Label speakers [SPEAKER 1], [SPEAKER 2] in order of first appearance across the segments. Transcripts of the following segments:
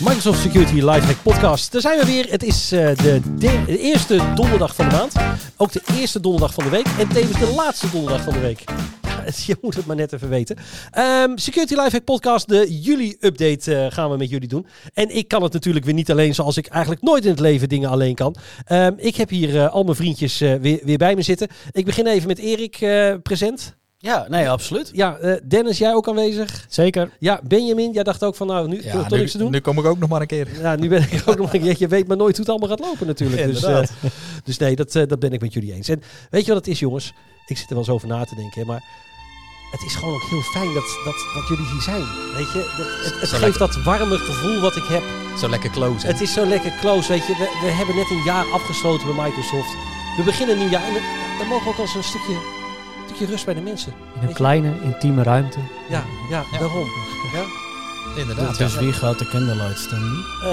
[SPEAKER 1] Microsoft Security Lifehack Podcast. Daar zijn we weer. Het is eh, de, de- de eerste donderdag van de maand. Ook de eerste donderdag van de week. En tevens de laatste donderdag van de week. Ja, het- Je moet het maar net even weten. Ehm, Security Lifehack Podcast, de juli-update eh, gaan we met jullie doen. En ik kan het natuurlijk weer niet alleen, zoals ik eigenlijk nooit in het leven dingen alleen kan. Ehm, ik heb hier eh, al mijn vriendjes eh, weer, weer bij me zitten. Ik begin even met Erik, eh, present.
[SPEAKER 2] Ja, nee, absoluut.
[SPEAKER 1] Ja, eh, Dennis, jij ook aanwezig?
[SPEAKER 2] Zeker.
[SPEAKER 1] Ja, Benjamin, jij dacht ook van nou, nu
[SPEAKER 3] Ja,
[SPEAKER 1] toch
[SPEAKER 3] nu,
[SPEAKER 1] niks te doen?
[SPEAKER 3] nu kom ik ook nog maar een keer.
[SPEAKER 1] Ja, nu ben ik ook nog. Je, je weet maar nooit hoe het allemaal gaat lopen natuurlijk. Dus,
[SPEAKER 3] Inderdaad.
[SPEAKER 1] eh, dus nee, dat, eh, dat ben ik met jullie eens. En weet je wat het is, jongens? Ik zit er wel eens over na te denken, hè, maar het is gewoon ook heel fijn dat, dat, dat jullie hier zijn. Weet je, dat, het, het
[SPEAKER 3] Zo
[SPEAKER 1] geeft dat warme gevoel wat ik heb.
[SPEAKER 3] Zo lekker close. hè?
[SPEAKER 1] Het is zo lekker close, weet je. We, we hebben net een jaar afgesloten bij Microsoft. We beginnen een nieuw jaar en dan- dan mogen we ook als een stukje, stukje rust bij de mensen.
[SPEAKER 2] In een kleine, intieme ruimte.
[SPEAKER 1] Ja, ja,
[SPEAKER 3] Ja.
[SPEAKER 1] daarom. Ja?
[SPEAKER 3] Inderdaad.
[SPEAKER 4] Dus
[SPEAKER 3] ja.
[SPEAKER 4] wie gaat de candlelight staan?
[SPEAKER 1] Eh,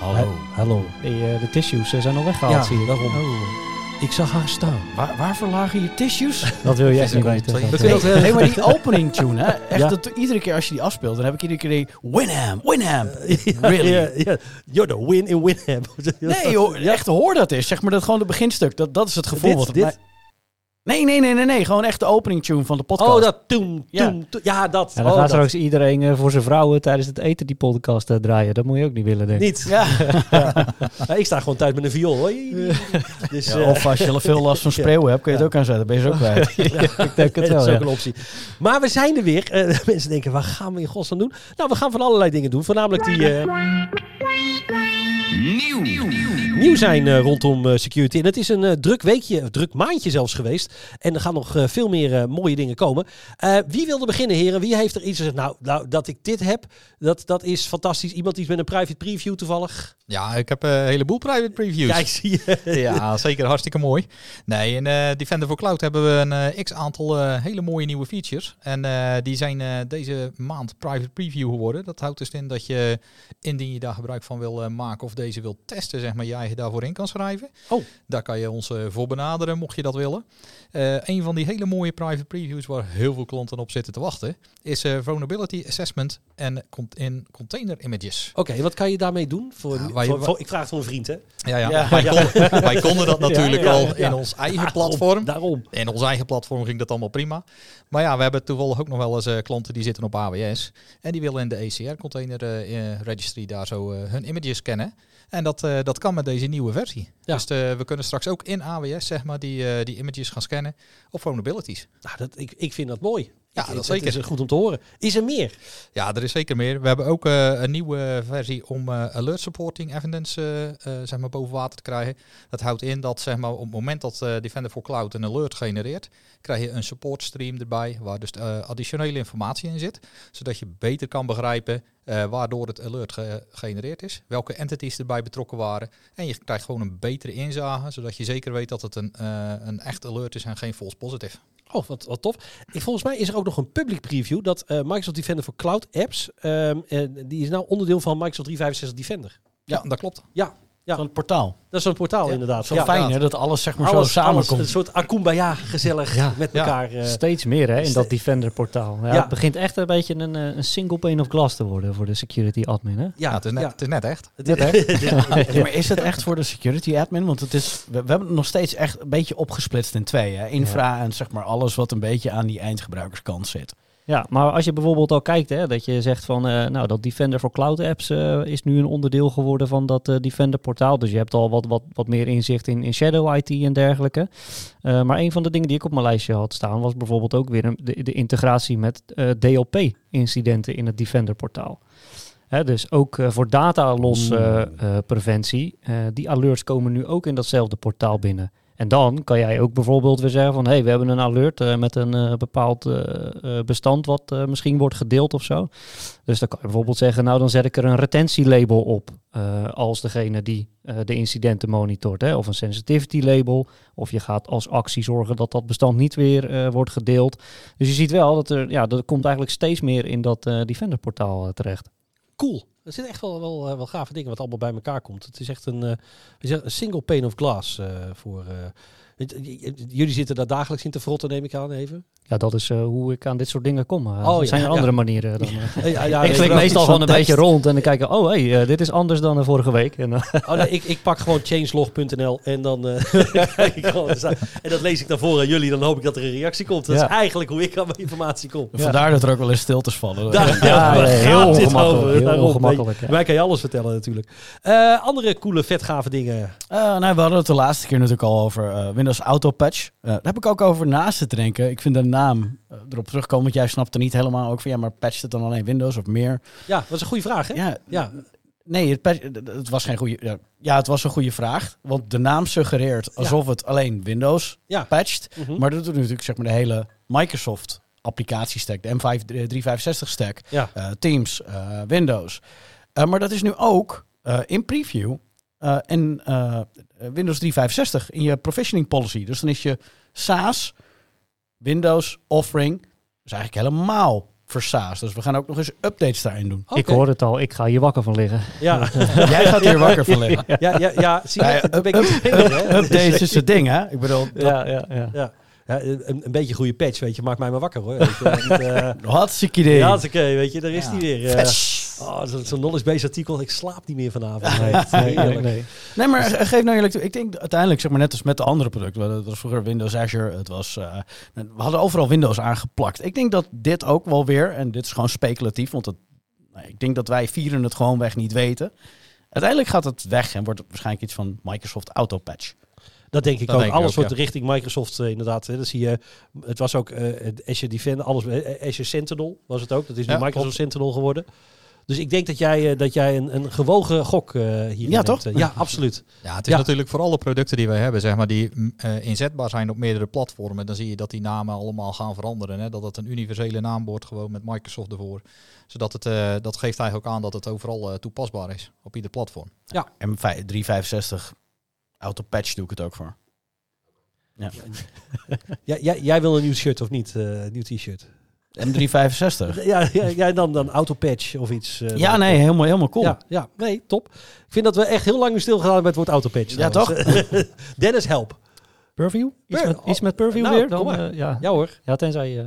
[SPEAKER 4] Hallo.
[SPEAKER 1] eh, hallo.
[SPEAKER 2] Die, eh, de tissues eh, zijn al weggehaald,
[SPEAKER 1] Ja,
[SPEAKER 2] zie ik.
[SPEAKER 1] daarom.
[SPEAKER 2] Oh.
[SPEAKER 1] Ik zag haar staan.
[SPEAKER 4] Waar, waarvoor lagen je tissues?
[SPEAKER 2] Dat wil je echt niet
[SPEAKER 3] Physical
[SPEAKER 2] weten.
[SPEAKER 3] play.
[SPEAKER 2] Dat,
[SPEAKER 1] vind ik ook heel-
[SPEAKER 4] Nee, maar die opening tune, hè? Echt,
[SPEAKER 1] Ja.
[SPEAKER 4] dat, iedere keer als je die afspeelt, dan heb ik iedere keer die Winham, Winham.
[SPEAKER 3] Eh,
[SPEAKER 1] Ja,
[SPEAKER 4] Really?
[SPEAKER 1] ja, ja. You're the win in Winham.
[SPEAKER 4] Nee, joh, echt hoor dat is. Zeg maar dat gewoon het beginstuk. Dat, dat is het gevoel.
[SPEAKER 1] Dit-
[SPEAKER 4] wat het
[SPEAKER 1] dit?
[SPEAKER 4] mij- Nee, nee, nee, nee, nee. Gewoon echt de opening tune van de podcast.
[SPEAKER 1] Oh, dat toen,
[SPEAKER 4] Ja.
[SPEAKER 1] toen, toen. Ja, dat.
[SPEAKER 2] en dan
[SPEAKER 1] oh,
[SPEAKER 2] gaat
[SPEAKER 1] dat.
[SPEAKER 2] straks iedereen eh, voor zijn vrouwen tijdens het eten die podcast eh, draaien. Dat moet je ook niet willen, denk ik.
[SPEAKER 1] Niet.
[SPEAKER 4] Ja.
[SPEAKER 1] Ja, ik sta gewoon thuis met een viool. hoor. Dus,
[SPEAKER 4] Ja,
[SPEAKER 1] eh,
[SPEAKER 4] Of als je veel last van spreeuwen hebt, kun je het ook aanzetten. Ben je ze ook kwijt.
[SPEAKER 2] Ik
[SPEAKER 1] dat
[SPEAKER 2] denk het wel,
[SPEAKER 1] is ook
[SPEAKER 2] ja.
[SPEAKER 1] een optie. Maar we zijn er weer. Eh, mensen denken, waar gaan we in godsnaam doen? Nou, we gaan van allerlei dingen doen. Voornamelijk die eh, nieuw zijn eh, rondom eh, security. En het is een eh, druk weekje, druk maandje zelfs geweest. En er gaan nog eh, veel meer eh, mooie dingen komen. Eh, wie wilde beginnen, heren? Wie heeft er iets gezegd? Nou, nou dat ik dit heb, dat, dat is fantastisch. Iemand iets met een private preview toevallig.
[SPEAKER 3] Ja, ik heb eh, een heleboel private previews.
[SPEAKER 1] Kijk, zie je.
[SPEAKER 3] Ja, zeker. Hartstikke mooi. Nee, in eh, Defender for Cloud hebben we een eh, x-aantal eh, hele mooie nieuwe features. En eh, die zijn eh, deze maand private preview geworden. Dat houdt dus in dat je, indien je daar gebruik van wil eh, maken of deze wil testen, zeg maar, je eigen daarvoor in kan schrijven.
[SPEAKER 1] Oh.
[SPEAKER 3] Daar kan je ons eh, voor benaderen, mocht je dat willen. Eh, een van die hele mooie private previews waar heel veel klanten op zitten te wachten, is eh, Vulnerability Assessment en con- in Container Images.
[SPEAKER 1] Oké, wat kan je daarmee doen? Voor,
[SPEAKER 3] Ja, waar je-
[SPEAKER 1] voor- voor- ik vraag het voor een vriend, hè?
[SPEAKER 3] Ja, ja.
[SPEAKER 4] Ja.
[SPEAKER 3] Wij, Konden, wij konden dat natuurlijk
[SPEAKER 1] Ja, ja, Ah, ja,
[SPEAKER 3] al
[SPEAKER 1] ja.
[SPEAKER 3] in ons eigen platform.
[SPEAKER 1] Daarom.
[SPEAKER 3] In ons eigen platform ging dat allemaal prima. Maar ja, we hebben toevallig ook nog wel eens eh, klanten die zitten op AWS. En die willen in de E ECR-container eh, registry daar zo eh, hun images scannen. En dat, eh, dat kan met deze nieuwe versie.
[SPEAKER 1] Ja.
[SPEAKER 3] Dus eh, we kunnen straks ook in AWS zeg maar, die, eh, die images gaan scannen op vulnerabilities.
[SPEAKER 1] Nou, dat, ik, ik vind dat mooi.
[SPEAKER 3] Ja,
[SPEAKER 1] Ik-
[SPEAKER 3] dat
[SPEAKER 1] ik-
[SPEAKER 3] zeker.
[SPEAKER 1] is goed om te horen. Is er meer?
[SPEAKER 3] Ja, er is zeker meer. We hebben ook eh, een nieuwe versie om eh, alert supporting evidence eh, eh, zeg maar boven water te krijgen. Dat houdt in dat zeg maar, op het moment dat eh, Defender for Cloud een alert genereert, krijg je een support stream erbij waar dus eh, additionele informatie in zit. Zodat je beter kan begrijpen eh, waardoor het alert ge- gegenereerd is, welke entities erbij betrokken waren. En je krijgt gewoon een betere inzage, zodat je zeker weet dat het een, eh, een echt alert is en geen false positive.
[SPEAKER 1] Oh, wat, wat tof. Ik, volgens mij is er ook nog een public preview dat eh, Microsoft Defender voor Cloud Apps, ehm, en die is nou onderdeel van Microsoft 365 Defender.
[SPEAKER 3] Ja, dat klopt.
[SPEAKER 1] Ja, ja.
[SPEAKER 4] Zo'n portaal.
[SPEAKER 1] dat is zo'n portaal
[SPEAKER 3] Ja,
[SPEAKER 1] inderdaad.
[SPEAKER 4] Zo
[SPEAKER 1] Ja.
[SPEAKER 4] fijn, hè? Dat alles zeg maar
[SPEAKER 1] Alles,
[SPEAKER 4] zo samenkomt.
[SPEAKER 1] Alles, een soort akumbaya gezellig met
[SPEAKER 3] Ja.
[SPEAKER 1] elkaar. eh.
[SPEAKER 2] Steeds meer hè, in
[SPEAKER 1] Ste-
[SPEAKER 2] dat Defender-portaal. Ja,
[SPEAKER 1] Ja.
[SPEAKER 2] Het begint echt een beetje een, eh, een single pane of glass te worden voor de security admin. Hè?
[SPEAKER 3] Ja, het, is net,
[SPEAKER 1] ja.
[SPEAKER 3] het is net echt.
[SPEAKER 1] Het-
[SPEAKER 2] Net, hè?
[SPEAKER 1] het is-
[SPEAKER 4] Ja, maar is het echt voor de security admin? Want het is, we, we hebben het nog steeds echt een beetje opgesplitst in twee. Hè? Infra en zeg maar alles wat een beetje aan die eindgebruikerskant zit.
[SPEAKER 2] Ja, maar als je bijvoorbeeld al kijkt, hè, dat je zegt van, eh, nou, dat Defender voor Cloud Apps eh, is nu een onderdeel geworden van dat eh, Defender portaal. Dus je hebt al wat, wat, wat meer inzicht in, in Shadow IT en dergelijke. Eh, maar een van de dingen die ik op mijn lijstje had staan, was bijvoorbeeld ook weer een, de, de integratie met eh, DLP-incidenten in het Defender portaal. Hè, dus ook eh, voor data los eh, eh, preventie, eh, die alerts komen nu ook in datzelfde portaal binnen. En dan kan jij ook bijvoorbeeld weer zeggen van... hé, hey, we hebben een alert eh, met een eh, bepaald eh, eh, bestand... wat eh, misschien wordt gedeeld of zo. Dus dan kan je bijvoorbeeld zeggen... nou, dan zet ik er een retentielabel op... eh, als degene die eh, de incidenten monitort. Hè? Of een sensitivity label. Of je gaat als actie zorgen dat dat bestand niet weer eh, wordt gedeeld. Dus je ziet wel dat er... ja, dat komt eigenlijk steeds meer in dat eh Defender portaal eh, terecht.
[SPEAKER 1] Cool. Er zitten echt wel, wel, eh, wel gave dingen wat allemaal bij elkaar komt. Het is echt een, eh, we zeggen, een single pane of glass eh, voor... eh, het- j- j- jullie zitten daar dagelijks in te frotten, neem ik aan even.
[SPEAKER 2] Ja, dat is eh, hoe ik aan dit soort dingen kom. Eh,
[SPEAKER 1] Oh,
[SPEAKER 2] er zijn
[SPEAKER 1] ja,
[SPEAKER 2] er
[SPEAKER 1] ja.
[SPEAKER 2] andere manieren dan... eh,
[SPEAKER 1] Eh, ja, ja,
[SPEAKER 2] ik
[SPEAKER 1] nee,
[SPEAKER 2] klik
[SPEAKER 1] wel.
[SPEAKER 2] meestal gewoon een
[SPEAKER 4] tekst.
[SPEAKER 2] beetje rond en dan kijk ik, oh hé, hey, eh, dit is anders dan eh, vorige week. En, eh,
[SPEAKER 1] Oh, nee, ik, ik pak gewoon changelog.nl en dan eh, kijk ik gewoon wat er staat. en dat lees ik dan voor aan jullie. Dan hoop ik dat er een reactie komt. Dat
[SPEAKER 2] Ja.
[SPEAKER 1] is eigenlijk hoe ik aan mijn informatie kom.
[SPEAKER 4] Vandaar dat er ook wel eens stiltes vallen.
[SPEAKER 1] Daar,
[SPEAKER 2] ja,
[SPEAKER 1] daar
[SPEAKER 2] heel
[SPEAKER 1] gaat dit
[SPEAKER 2] ongemakkelijk,
[SPEAKER 1] over.
[SPEAKER 2] heel
[SPEAKER 1] Daarom,
[SPEAKER 2] ongemakkelijk,
[SPEAKER 1] weet je.
[SPEAKER 2] ja.
[SPEAKER 1] Wij kan je alles vertellen natuurlijk. Eh, andere coole, vetgave dingen.
[SPEAKER 4] Eh, nou, we hadden het de laatste keer natuurlijk al over eh, Windows Auto Patch. Eh, daar heb ik ook over naast te denken. Ik vind de naam eh, erop terugkomen, want jij snapt er niet helemaal ook van... ja, maar patcht het dan alleen Windows of meer?
[SPEAKER 1] Ja, dat is een goede vraag, hè?
[SPEAKER 4] Ja,
[SPEAKER 1] Ja.
[SPEAKER 4] nee, het, patch- d- d- het was geen goede... ja, Ja, het was een goede vraag. Want de naam suggereert alsof het alleen Windows
[SPEAKER 1] Ja.
[SPEAKER 4] patcht.
[SPEAKER 1] Mhm.
[SPEAKER 4] Maar dat doet natuurlijk zeg maar, de hele Microsoft applicatiestack, de M5 365 stack.
[SPEAKER 1] Ja.
[SPEAKER 4] eh, Teams, eh, Windows. Eh, maar dat is nu ook eh, in preview eh, en eh, Windows 365 in je provisioning policy. Dus dan is je SaaS, Windows offering, dus eigenlijk helemaal voor SaaS. Dus we gaan ook nog eens updates daarin doen.
[SPEAKER 1] Oh,
[SPEAKER 2] Ik hoor het al, ik ga hier wakker van liggen.
[SPEAKER 1] Ja,
[SPEAKER 4] Jij gaat hier wakker van liggen.
[SPEAKER 1] ja, ja, ja. Zie
[SPEAKER 4] Nou ja,
[SPEAKER 1] je, daar ben ik
[SPEAKER 4] up-
[SPEAKER 1] niet tegen, hè?
[SPEAKER 4] Up- Updates is het ding, hè? Ik bedoel,
[SPEAKER 2] Ja, ja, ja.
[SPEAKER 1] Ja, ja een, een beetje goede patch, weet je. Maakt mij maar wakker, hoor. Weet je. Niet, eh,
[SPEAKER 4] hartstikke idee.
[SPEAKER 1] ja, dat is oké, weet je. Daar is
[SPEAKER 4] Ja.
[SPEAKER 1] hij weer. eh.
[SPEAKER 4] Vet.
[SPEAKER 1] oh, dat is Zo'n knowledge-based artikel. Ik slaap niet meer vanavond. Nee,
[SPEAKER 2] Nee,
[SPEAKER 1] heerlijk.
[SPEAKER 2] nee.
[SPEAKER 4] Nee, maar ge- geef nou eerlijk toe. Ik denk uiteindelijk, zeg maar net als met de andere producten. Het was vroeger Windows Azure. Het was, eh, we hadden overal Windows aangeplakt. Ik denk dat dit ook wel weer, en dit is gewoon speculatief, want het, nou, ik denk dat wij vieren het gewoon weg niet weten. Uiteindelijk gaat het weg en wordt het waarschijnlijk iets van Microsoft Autopatch.
[SPEAKER 1] Dat denk ik
[SPEAKER 3] Dat
[SPEAKER 1] ook.
[SPEAKER 3] denk ik
[SPEAKER 1] alles
[SPEAKER 3] ook,
[SPEAKER 1] wordt richting Microsoft eh, inderdaad. Hè. Dat zie je. Het was ook eh, het Azure Defender, alles, eh, Azure Sentinel was het ook. Dat is nu
[SPEAKER 3] Ja,
[SPEAKER 1] Microsoft
[SPEAKER 3] klopt.
[SPEAKER 1] Sentinel geworden. Dus ik denk dat jij, eh, dat jij een, een gewogen gok eh hier
[SPEAKER 4] Ja, toch?
[SPEAKER 1] Ja, absoluut.
[SPEAKER 3] Ja, het is
[SPEAKER 1] Ja.
[SPEAKER 3] natuurlijk voor alle producten die wij hebben, zeg maar, die mm, eh, inzetbaar zijn op meerdere platformen. Dan zie je dat die namen allemaal gaan veranderen. Hè? Dat het een universele naam wordt, gewoon met Microsoft ervoor. Zodat het, eh, dat geeft eigenlijk ook aan dat het overal eh, toepasbaar is, op ieder platform.
[SPEAKER 4] En 365 Autopatch doe ik het ook voor.
[SPEAKER 1] Jij, jij, jij wil een nieuw shirt of niet? eh, nieuw t-shirt.
[SPEAKER 4] M365.
[SPEAKER 1] Ja, ja, jij dan dan autopatch of iets. eh,
[SPEAKER 4] Ja,
[SPEAKER 1] dan-
[SPEAKER 4] nee, helemaal, helemaal cool.
[SPEAKER 1] Ja, ja, nee, top. Ik vind dat we echt heel lang nu stilgegaan hebben met het woord Dus, eh, autopatch.
[SPEAKER 4] Ja,
[SPEAKER 1] trouwens. Dennis, help.
[SPEAKER 2] Purview? Iets
[SPEAKER 1] Pur-
[SPEAKER 2] met, iets met Purview
[SPEAKER 1] Nou,
[SPEAKER 2] weer?
[SPEAKER 1] kom
[SPEAKER 2] Dan,
[SPEAKER 1] maar.
[SPEAKER 2] eh, ja.
[SPEAKER 1] Ja hoor.
[SPEAKER 2] ja, tenzij eh, je...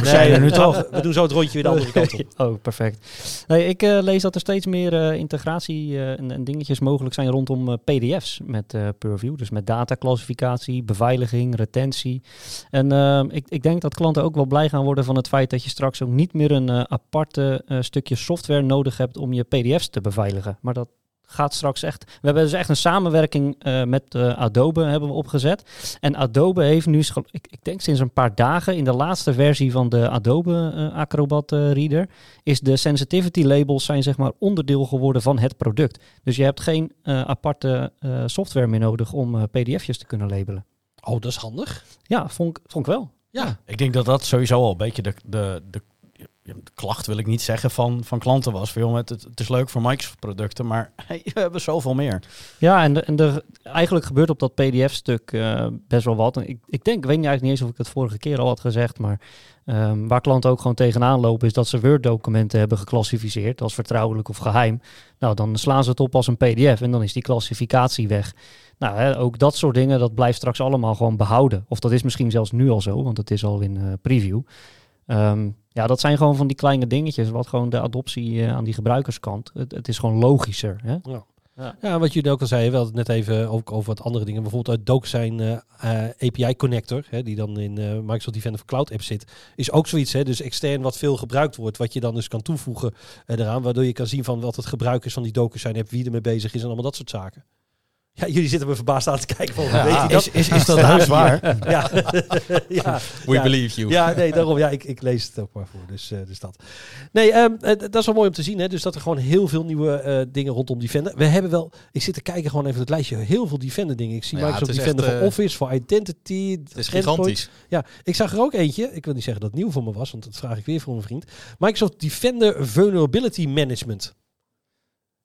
[SPEAKER 4] We zijn er nu toch.
[SPEAKER 1] We doen zo het rondje weer de andere kant op.
[SPEAKER 2] Oh, perfect. Nee, ik eh, lees dat er steeds meer eh, integratie eh, en, en dingetjes mogelijk zijn rondom eh, PDF's met eh, Purview. Dus met dataclassificatie, beveiliging, retentie. En eh, ik, ik denk dat klanten ook wel blij gaan worden van het feit dat je straks ook niet meer een eh, aparte eh, stukje software nodig hebt om je PDF's te beveiligen. Maar dat gaat straks echt. We hebben dus echt een samenwerking eh, met eh, Adobe hebben we opgezet. En Adobe heeft nu, scho- ik, ik denk sinds een paar dagen, in de laatste versie van de Adobe eh, Acrobat eh, Reader, is de sensitivity labels zijn zeg maar onderdeel geworden van het product. Dus je hebt geen eh, aparte eh, software meer nodig om eh, PDF'jes te kunnen labelen.
[SPEAKER 1] Oh, dat is handig.
[SPEAKER 2] Ja, vond ik, vond ik wel.
[SPEAKER 1] Ja,
[SPEAKER 4] Ik denk dat dat sowieso al een beetje de, de, de, ja, de klacht, wil ik niet zeggen, van, van klanten was. Van, joh, het, het is leuk voor Microsoft-producten, maar hey, we hebben zoveel meer.
[SPEAKER 2] Ja, en, de- en de, eigenlijk gebeurt op dat PDF-stuk eh, best wel wat. En Ik, ik denk, ik weet niet eigenlijk niet eens of ik het vorige keer al had gezegd, maar ehm, waar klanten ook gewoon tegenaan lopen is dat ze Word-documenten hebben geclassificeerd als vertrouwelijk of geheim. Nou, dan slaan ze het op als een PDF en dan is die klassificatie weg. Nou, hè, ook dat soort dingen, dat blijft straks allemaal gewoon behouden. Of dat is misschien zelfs nu al zo, want het is al in eh, preview. Ehm, ja, dat zijn gewoon van die kleine dingetjes, wat gewoon de adoptie eh, aan die gebruikerskant. Het, het is gewoon logischer. Hè?
[SPEAKER 1] Ja, wat jullie ook al zeiden, we hadden het net even ook over wat andere dingen. Bijvoorbeeld uit Dook zijn eh, eh, API connector, hè, die dan in eh, Microsoft Defender for Cloud app zit, is ook zoiets. Hè, dus extern wat veel gebruikt wordt, wat je dan dus kan toevoegen eh eraan, waardoor je kan zien van wat het gebruik is van die docu zijn app, wie ermee bezig is en allemaal dat soort zaken. Ja, jullie zitten me verbaasd aan te kijken van,
[SPEAKER 4] Ja, Ah,
[SPEAKER 1] weet je dat?
[SPEAKER 4] is, is, is dat huis waar?
[SPEAKER 1] Ja, ja,
[SPEAKER 3] We
[SPEAKER 1] ja.
[SPEAKER 3] believe you.
[SPEAKER 1] Ja, nee, daarom. Ja, ik, ik lees het ook maar voor. Dus, eh, dus dat. Nee, ehm, eh, d- dat is wel mooi om te zien. Hè? Dus dat er gewoon heel veel nieuwe eh, dingen rondom Defender. We hebben wel, ik zit te kijken gewoon even het lijstje. Heel veel Defender dingen. Ik zie
[SPEAKER 3] Ja,
[SPEAKER 1] Microsoft
[SPEAKER 3] het is
[SPEAKER 1] Defender
[SPEAKER 3] echt,
[SPEAKER 1] voor
[SPEAKER 3] eh,
[SPEAKER 1] Office, voor Identity.
[SPEAKER 3] Het is gigantisch.
[SPEAKER 1] Ja, ik zag er ook eentje. Ik wil niet zeggen dat het nieuw voor me was, want dat vraag ik weer voor mijn vriend. Microsoft Defender Vulnerability Management.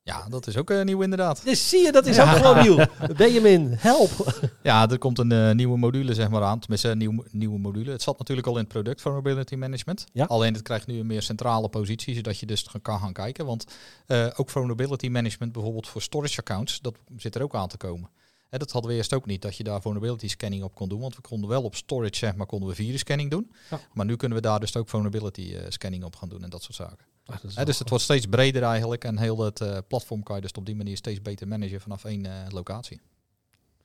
[SPEAKER 3] Ja, dat is ook eh, nieuw inderdaad.
[SPEAKER 1] Dus zie je, dat is ook gewoon nieuw. Benjamin, help.
[SPEAKER 3] Ja, er komt een eh, nieuwe module zeg maar aan. Tenminste, een nieuw, nieuwe module. Het zat natuurlijk al in het product vulnerability management.
[SPEAKER 1] Ja.
[SPEAKER 3] Alleen het krijgt nu een meer centrale positie, zodat je dus kan gaan kijken. Want eh, ook vulnerability management bijvoorbeeld voor storage accounts, dat zit er ook aan te komen. Hè, dat hadden we eerst ook niet, dat je daar vulnerability scanning op kon doen. Want we konden wel op storage, zeg maar, konden we virus scanning doen.
[SPEAKER 1] Ja.
[SPEAKER 3] Maar nu kunnen we daar dus ook vulnerability eh, scanning op gaan doen en dat soort zaken.
[SPEAKER 1] Ah, dat is
[SPEAKER 3] Hè, dus het wordt steeds breder eigenlijk. En heel het eh, platform kan je dus op die manier steeds beter managen vanaf één eh, locatie.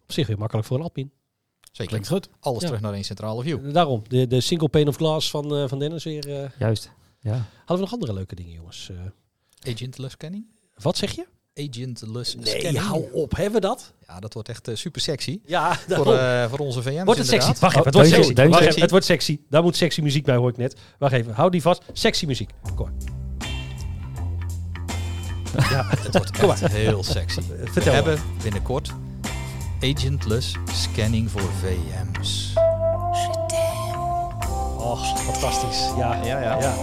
[SPEAKER 1] op zich weer makkelijk voor een admin.
[SPEAKER 3] Zeker.
[SPEAKER 4] Klinkt goed.
[SPEAKER 3] Alles
[SPEAKER 1] Ja.
[SPEAKER 3] terug naar één centrale view.
[SPEAKER 1] Daarom, de, de single pane of glass van, eh, van Dennis weer. eh.
[SPEAKER 2] Juist. Ja.
[SPEAKER 1] Hadden we nog andere leuke dingen, jongens? Eh,
[SPEAKER 3] Agentless scanning?
[SPEAKER 1] wat zeg je?
[SPEAKER 3] Agentless
[SPEAKER 1] Nee,
[SPEAKER 3] scanning.
[SPEAKER 1] hou op. Hebben we dat?
[SPEAKER 3] Ja, dat wordt echt eh, super sexy.
[SPEAKER 1] Ja,
[SPEAKER 3] Voor,
[SPEAKER 1] daarom.
[SPEAKER 3] eh, voor onze VM's
[SPEAKER 1] Wordt het sexy?
[SPEAKER 3] inderdaad.
[SPEAKER 1] Wacht even, het wordt
[SPEAKER 2] Deuntje,
[SPEAKER 1] sexy.
[SPEAKER 2] deuntje.
[SPEAKER 1] Wacht even, het wordt sexy. Daar moet sexy muziek bij, hoor ik net. Wacht even, hou die vast. Sexy muziek. Kom maar.
[SPEAKER 3] Het wordt echt heel sexy. We
[SPEAKER 1] Eh, Vertel
[SPEAKER 3] hebben binnenkort agentless scanning voor VM's.
[SPEAKER 1] Och, fantastisch. Ja, ja, ja.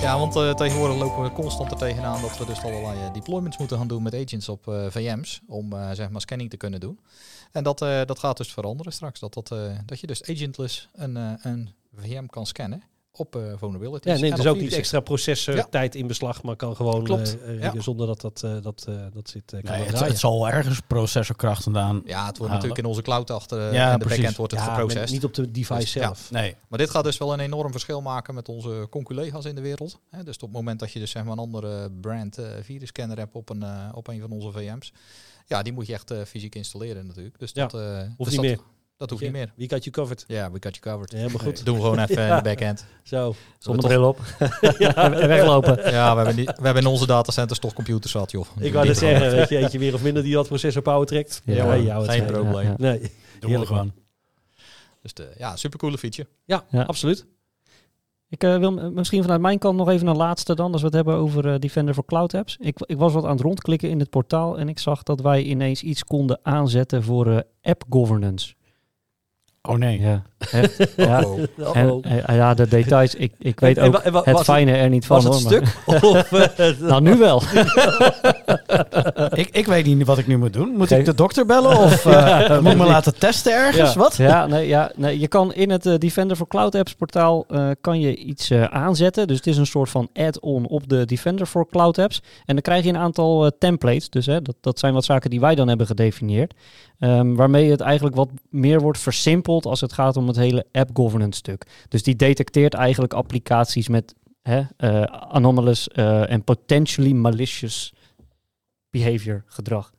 [SPEAKER 3] Ja, want eh, tegenwoordig lopen we constant er tegenaan dat we dus allerlei eh, deployments moeten gaan doen met agents op eh, VM's. Om eh, zeg maar scanning te kunnen doen. En dat, eh, dat gaat dus veranderen straks. Dat, dat, eh, dat je dus agentless een, eh, een VM kan scannen op eh
[SPEAKER 1] Ja,
[SPEAKER 3] vulnerabilities.
[SPEAKER 1] neemt
[SPEAKER 3] en
[SPEAKER 1] dus
[SPEAKER 3] op
[SPEAKER 1] ook niet
[SPEAKER 3] virussen.
[SPEAKER 1] extra processortijd tijd in beslag, maar kan gewoon
[SPEAKER 3] Klopt,
[SPEAKER 1] eh, eh,
[SPEAKER 3] ja.
[SPEAKER 1] zonder dat dat, eh, dat, eh, dat zit eh, kan dat
[SPEAKER 4] Nee, het,
[SPEAKER 1] draaien.
[SPEAKER 4] het zal ergens processorkracht vandaan.
[SPEAKER 3] Ja, het wordt
[SPEAKER 4] halen.
[SPEAKER 3] natuurlijk in onze cloud achter eh,
[SPEAKER 4] Ja,
[SPEAKER 3] en de
[SPEAKER 4] precies.
[SPEAKER 3] backend wordt het
[SPEAKER 1] Ja,
[SPEAKER 3] geprocessed.
[SPEAKER 1] met- niet op de device
[SPEAKER 3] Dus, ja.
[SPEAKER 1] zelf.
[SPEAKER 4] Nee,
[SPEAKER 3] Maar dit gaat dus wel een enorm verschil maken met onze conculega's in de wereld. Hè, dus op het moment dat je dus zeg maar een andere brand eh virusscanner hebt op een, eh, op een van onze VM's. Ja, die moet je echt eh, fysiek installeren natuurlijk. Dus
[SPEAKER 1] Ja,
[SPEAKER 3] dat, eh,
[SPEAKER 1] Hoeft
[SPEAKER 3] dus
[SPEAKER 1] niet
[SPEAKER 3] dat,
[SPEAKER 1] meer.
[SPEAKER 3] Dat hoeft niet meer.
[SPEAKER 1] Wie got you covered?
[SPEAKER 3] Ja, we got you covered.
[SPEAKER 1] Helemaal goed.
[SPEAKER 3] Doen we gewoon even
[SPEAKER 1] Ja.
[SPEAKER 3] in de backend.
[SPEAKER 1] Zo.
[SPEAKER 2] Zonnebril op. en weglopen.
[SPEAKER 3] Ja, we hebben, niet- we hebben in onze datacenters toch computers zat, joh.
[SPEAKER 1] Ik wou
[SPEAKER 3] Die
[SPEAKER 1] net
[SPEAKER 3] gewoon.
[SPEAKER 1] zeggen, weet je, eentje meer of minder die dat processor power trekt.
[SPEAKER 2] Ja,
[SPEAKER 1] Nee,
[SPEAKER 2] hoor.
[SPEAKER 1] jou het
[SPEAKER 3] Geen
[SPEAKER 1] schelen.
[SPEAKER 3] probleem.
[SPEAKER 2] Ja,
[SPEAKER 1] Nee.
[SPEAKER 4] doen we gewoon.
[SPEAKER 3] Dus de, ja, supercoole feature.
[SPEAKER 1] Ja,
[SPEAKER 2] Ja.
[SPEAKER 1] absoluut.
[SPEAKER 2] Ik eh, wil m- misschien vanuit mijn kant nog even een laatste dan, als we het hebben over eh, Defender voor Cloud Apps. Ik, ik was wat aan het rondklikken in het portaal en ik zag dat wij ineens iets konden aanzetten voor eh, app governance.
[SPEAKER 4] Oh nee.
[SPEAKER 2] Ja, echt. ja.
[SPEAKER 3] Oh.
[SPEAKER 2] En,
[SPEAKER 1] Uh-oh.
[SPEAKER 2] eh, ja, de details, ik, ik weet
[SPEAKER 1] En- en
[SPEAKER 2] ook
[SPEAKER 1] wa- en wa-
[SPEAKER 2] het
[SPEAKER 1] was
[SPEAKER 2] fijne er niet van.
[SPEAKER 1] was het
[SPEAKER 2] hoor, maar-
[SPEAKER 1] stuk? Of, eh,
[SPEAKER 2] Nou, nu wel.
[SPEAKER 4] Ik, ik weet niet wat ik nu moet doen. Moet
[SPEAKER 2] Geen-
[SPEAKER 4] ik de dokter bellen of eh, moet ik me laten testen ergens?
[SPEAKER 1] Ja.
[SPEAKER 4] Wat?
[SPEAKER 2] Ja, nee, ja nee, je kan in het eh, Defender for Cloud Apps portaal eh, kan je iets eh, aanzetten. Dus het is een soort van add-on op de Defender for Cloud Apps. En dan krijg je een aantal eh, templates. Dus hè, dat, dat zijn wat zaken die wij dan hebben gedefinieerd. Ehm, waarmee het eigenlijk wat meer wordt versimpeld als het gaat om het hele app governance stuk. Dus die detecteert eigenlijk applicaties met hè, eh, anomalous eh, en potentially malicious behavior gedrag.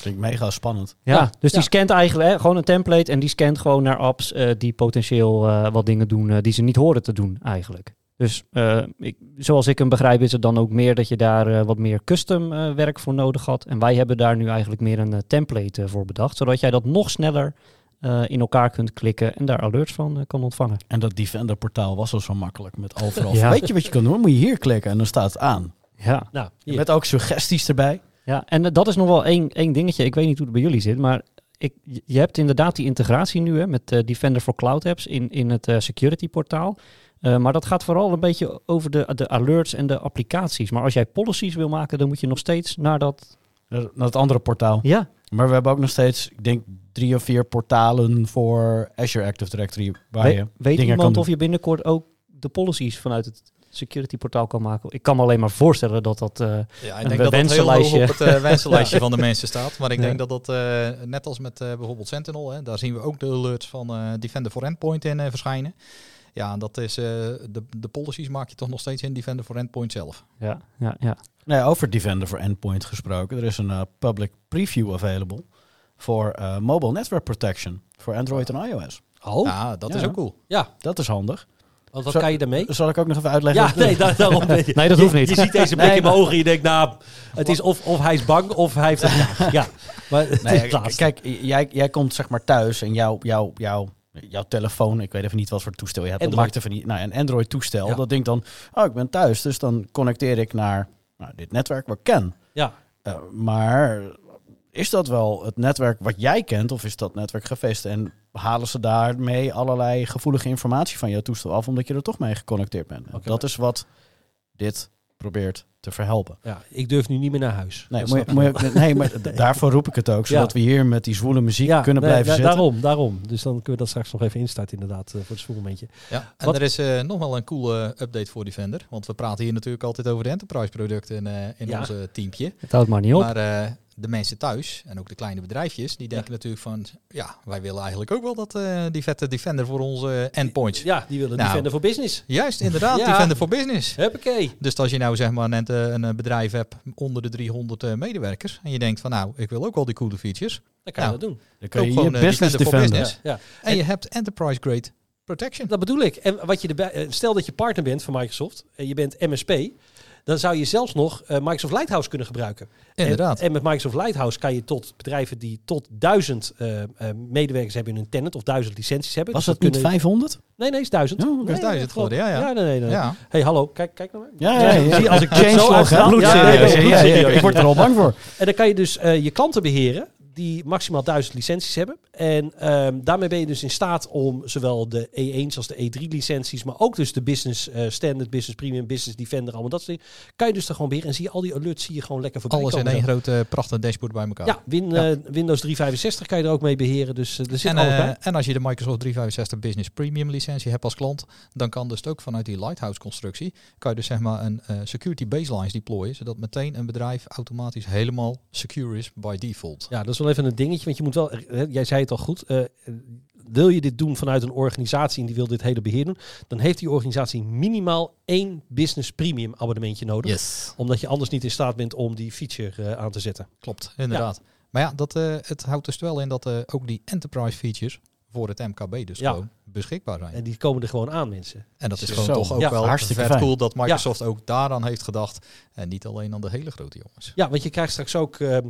[SPEAKER 4] Klinkt mega spannend.
[SPEAKER 2] Ja,
[SPEAKER 1] Ja,
[SPEAKER 2] dus die
[SPEAKER 1] ja.
[SPEAKER 2] scant eigenlijk hè, gewoon een template en die scant gewoon naar apps eh, die potentieel eh, wat dingen doen eh, die ze niet horen te doen eigenlijk. Dus eh, ik, zoals ik hem begrijp is het dan ook meer dat je daar eh, wat meer custom eh, werk voor nodig had. En wij hebben daar nu eigenlijk meer een eh, template eh, voor bedacht, zodat jij dat nog sneller eh, in elkaar kunt klikken en daar alerts van eh, kan ontvangen.
[SPEAKER 4] En dat Defender portaal was al zo makkelijk met overal.
[SPEAKER 2] Ja.
[SPEAKER 4] Weet je wat je kan doen? Moet je hier klikken en dan staat het aan.
[SPEAKER 2] Ja.
[SPEAKER 1] nou, hier.
[SPEAKER 4] Met ook suggesties erbij.
[SPEAKER 2] Ja, en eh, dat is nog wel één, één dingetje. Ik weet niet hoe het bij jullie zit, maar ik, je- je hebt inderdaad die integratie nu hè, met eh, Defender for Cloud Apps in, in het eh, security portaal. Eh, maar dat gaat vooral een beetje over de, de alerts en de applicaties. Maar als jij policies wil maken, dan moet je nog steeds naar dat...
[SPEAKER 4] Naar naar het andere portaal.
[SPEAKER 2] Ja,
[SPEAKER 4] Maar we hebben ook nog steeds, ik denk, drie of vier portalen voor Azure Active Directory. Waar
[SPEAKER 2] we-
[SPEAKER 4] je
[SPEAKER 2] weet
[SPEAKER 4] dingen
[SPEAKER 2] iemand
[SPEAKER 4] kan
[SPEAKER 2] of je binnenkort ook de policies vanuit het security portaal kan maken? Ik kan me alleen maar voorstellen dat dat... eh,
[SPEAKER 3] Ja,
[SPEAKER 2] Een
[SPEAKER 3] ik denk dat dat heel hoog
[SPEAKER 2] wensenlijstje.
[SPEAKER 3] op het eh, wensenlijstje van de mensen staat. Maar ik
[SPEAKER 2] Ja.
[SPEAKER 3] denk dat dat, eh, net als met eh, bijvoorbeeld Sentinel, hè, daar zien we ook de alerts van eh, Defender for Endpoint in eh, verschijnen. Ja, en dat is, eh, de, de policies maak je toch nog steeds in Defender for Endpoint zelf.
[SPEAKER 2] ja, ja, ja.
[SPEAKER 4] Nee, over Defender voor Endpoint gesproken. Er is een eh, public preview available voor eh, mobile network protection voor Android en iOS.
[SPEAKER 1] Oh,
[SPEAKER 3] ja, dat
[SPEAKER 4] ja.
[SPEAKER 3] is ook cool.
[SPEAKER 1] ja.
[SPEAKER 4] Dat is handig.
[SPEAKER 1] Want wat
[SPEAKER 4] Zo-
[SPEAKER 1] kan je daarmee?
[SPEAKER 4] Zal ik ook nog even uitleggen?
[SPEAKER 1] Ja, nee, daar, daarom ben je.
[SPEAKER 2] Nee, dat hoeft niet.
[SPEAKER 1] Je, je ziet deze blik
[SPEAKER 4] Nee,
[SPEAKER 1] in mijn ogen en je denkt, nou, het is of, of hij is bang of hij heeft het graag. Ja, maar het
[SPEAKER 4] Nee,
[SPEAKER 1] is het
[SPEAKER 4] k-
[SPEAKER 1] laatste.
[SPEAKER 4] kijk, j- jij, jij komt zeg maar thuis en jouw jouw jouw jouw telefoon, ik weet even niet wat voor toestel je hebt, dat
[SPEAKER 1] Android.
[SPEAKER 4] maakt even niet. Nou, een Android toestel,
[SPEAKER 1] Ja.
[SPEAKER 4] dat denkt dan, oh ik ben thuis, dus dan connecteer ik naar nou, dit netwerk wat ik ken.
[SPEAKER 1] Ja.
[SPEAKER 4] Eh, maar is dat wel het netwerk wat jij kent of is dat netwerk gevest? En halen ze daarmee allerlei gevoelige informatie van jouw toestel af, omdat je er toch mee geconnecteerd bent? En dat is wat dit probeert te verhelpen.
[SPEAKER 1] ja, ik durf nu niet meer naar huis.
[SPEAKER 4] Nee,
[SPEAKER 1] Dat
[SPEAKER 4] moet
[SPEAKER 1] snap
[SPEAKER 4] je,
[SPEAKER 1] ik
[SPEAKER 4] moet
[SPEAKER 1] wel.
[SPEAKER 4] je ook- nee, maar d- daarvoor roep ik het ook. Zodat we hier met die zwoele muziek
[SPEAKER 1] Ja,
[SPEAKER 4] kunnen
[SPEAKER 1] nee,
[SPEAKER 4] blijven
[SPEAKER 1] da-
[SPEAKER 4] zitten.
[SPEAKER 1] Daarom, daarom. Dus dan kunnen we dat straks nog even instarten inderdaad, eh, voor het spoelmomentje.
[SPEAKER 3] Ja, en
[SPEAKER 1] Wat-
[SPEAKER 3] er is eh, nog wel een coole update voor Defender. Want we praten hier natuurlijk altijd over de enterprise producten eh, in
[SPEAKER 1] Ja.
[SPEAKER 3] ons eh, teampje.
[SPEAKER 2] Het houdt maar niet op.
[SPEAKER 3] Maar eh, de mensen thuis en ook de kleine bedrijfjes, die denken natuurlijk van... Ja, wij willen eigenlijk ook wel dat, eh, die vette Defender voor onze endpoints.
[SPEAKER 1] Ja, die willen
[SPEAKER 3] Nou.
[SPEAKER 1] Defender voor Business.
[SPEAKER 3] Juist, inderdaad,
[SPEAKER 1] Ja.
[SPEAKER 3] Defender for Business.
[SPEAKER 1] Huppakee.
[SPEAKER 3] Dus als je nou zeg maar net eh, een eh, bedrijf hebt onder de 300 eh, medewerkers... en je denkt van nou, ik wil ook al die coole features.
[SPEAKER 1] Dan kan je
[SPEAKER 3] Nou.
[SPEAKER 1] dat doen.
[SPEAKER 4] Dan kun je
[SPEAKER 3] Koop
[SPEAKER 4] je
[SPEAKER 3] gewoon, eh,
[SPEAKER 4] business
[SPEAKER 3] Defender for
[SPEAKER 4] defenden.
[SPEAKER 3] Business.
[SPEAKER 1] Ja.
[SPEAKER 3] En je hebt enterprise grade protection.
[SPEAKER 1] Dat bedoel ik. En wat je erbij, eh, stel dat je partner bent van Microsoft en je bent MSP, dan zou je zelfs nog eh, Microsoft Lighthouse kunnen gebruiken.
[SPEAKER 3] Inderdaad.
[SPEAKER 1] En, en met Microsoft Lighthouse kan je tot bedrijven die tot duizend eh, eh, medewerkers hebben in hun tenant of duizend licenties hebben.
[SPEAKER 4] Was
[SPEAKER 1] Dus
[SPEAKER 4] dat niet
[SPEAKER 1] kunnen-
[SPEAKER 4] 500?
[SPEAKER 1] Nee, nee, is duizend.
[SPEAKER 4] Ja,
[SPEAKER 1] Nee,
[SPEAKER 4] dat is
[SPEAKER 1] nee,
[SPEAKER 3] duizend
[SPEAKER 1] klopt.
[SPEAKER 3] geworden, ja, ja.
[SPEAKER 1] nee, nee, nee.
[SPEAKER 3] Ja.
[SPEAKER 1] Hey, hallo, kijk, kijk naar mij.
[SPEAKER 4] Ja, ja, ja.
[SPEAKER 1] Zie, als ik dit zo
[SPEAKER 4] changelog,
[SPEAKER 1] uitstraal- Ja,
[SPEAKER 4] hè? Bloedserieus.
[SPEAKER 1] nee,
[SPEAKER 4] Ja, ja, ja,
[SPEAKER 1] bloedserieus.
[SPEAKER 4] Ik word er al bang voor.
[SPEAKER 1] En dan kan je dus eh, je klanten beheren die maximaal 1000 licenties hebben. En ehm, daarmee ben je dus in staat om zowel de E1 als de E3 licenties, maar ook dus de business eh, standard, business premium, business defender, allemaal dat soort dingen. Kan je dus daar gewoon beheren en zie je al die alerts zie je gewoon lekker voorbij
[SPEAKER 3] Alles in
[SPEAKER 1] komen.
[SPEAKER 3] één grote eh, prachtig dashboard bij elkaar.
[SPEAKER 1] Ja, win, eh, Windows 365 kan je er ook mee beheren, dus eh, er zit
[SPEAKER 3] En,
[SPEAKER 1] alles
[SPEAKER 3] eh,
[SPEAKER 1] bij.
[SPEAKER 3] en als je de Microsoft 365 Business Premium licentie hebt als klant, dan kan dus ook vanuit die Lighthouse constructie, kan je dus zeg maar een eh, security baselines deployen, zodat meteen een bedrijf automatisch helemaal secure is by default.
[SPEAKER 1] Ja, dat is wel even een dingetje, want je moet wel, eh, jij zei het al goed, eh, wil je dit doen vanuit een organisatie en die wil dit hele beheer doen, dan heeft die organisatie minimaal één business premium abonnementje nodig.
[SPEAKER 3] Yes.
[SPEAKER 1] Omdat je anders niet in staat bent om die feature eh, aan te zetten.
[SPEAKER 4] Ah,
[SPEAKER 3] Klopt, inderdaad. Maar ja, dat, eh, het houdt dus wel in dat eh, ook die enterprise features voor het MKB dus
[SPEAKER 1] Ja.
[SPEAKER 3] gewoon beschikbaar zijn.
[SPEAKER 1] En die komen er gewoon aan, mensen.
[SPEAKER 3] En dat is
[SPEAKER 4] Zo.
[SPEAKER 3] gewoon toch ook
[SPEAKER 1] Ja,
[SPEAKER 4] hartstikke
[SPEAKER 3] wel hartstikke vet
[SPEAKER 4] fijn.
[SPEAKER 3] cool dat Microsoft ook daaraan heeft gedacht. En niet alleen aan de hele grote jongens.
[SPEAKER 1] Ja, want je krijgt straks ook ehm,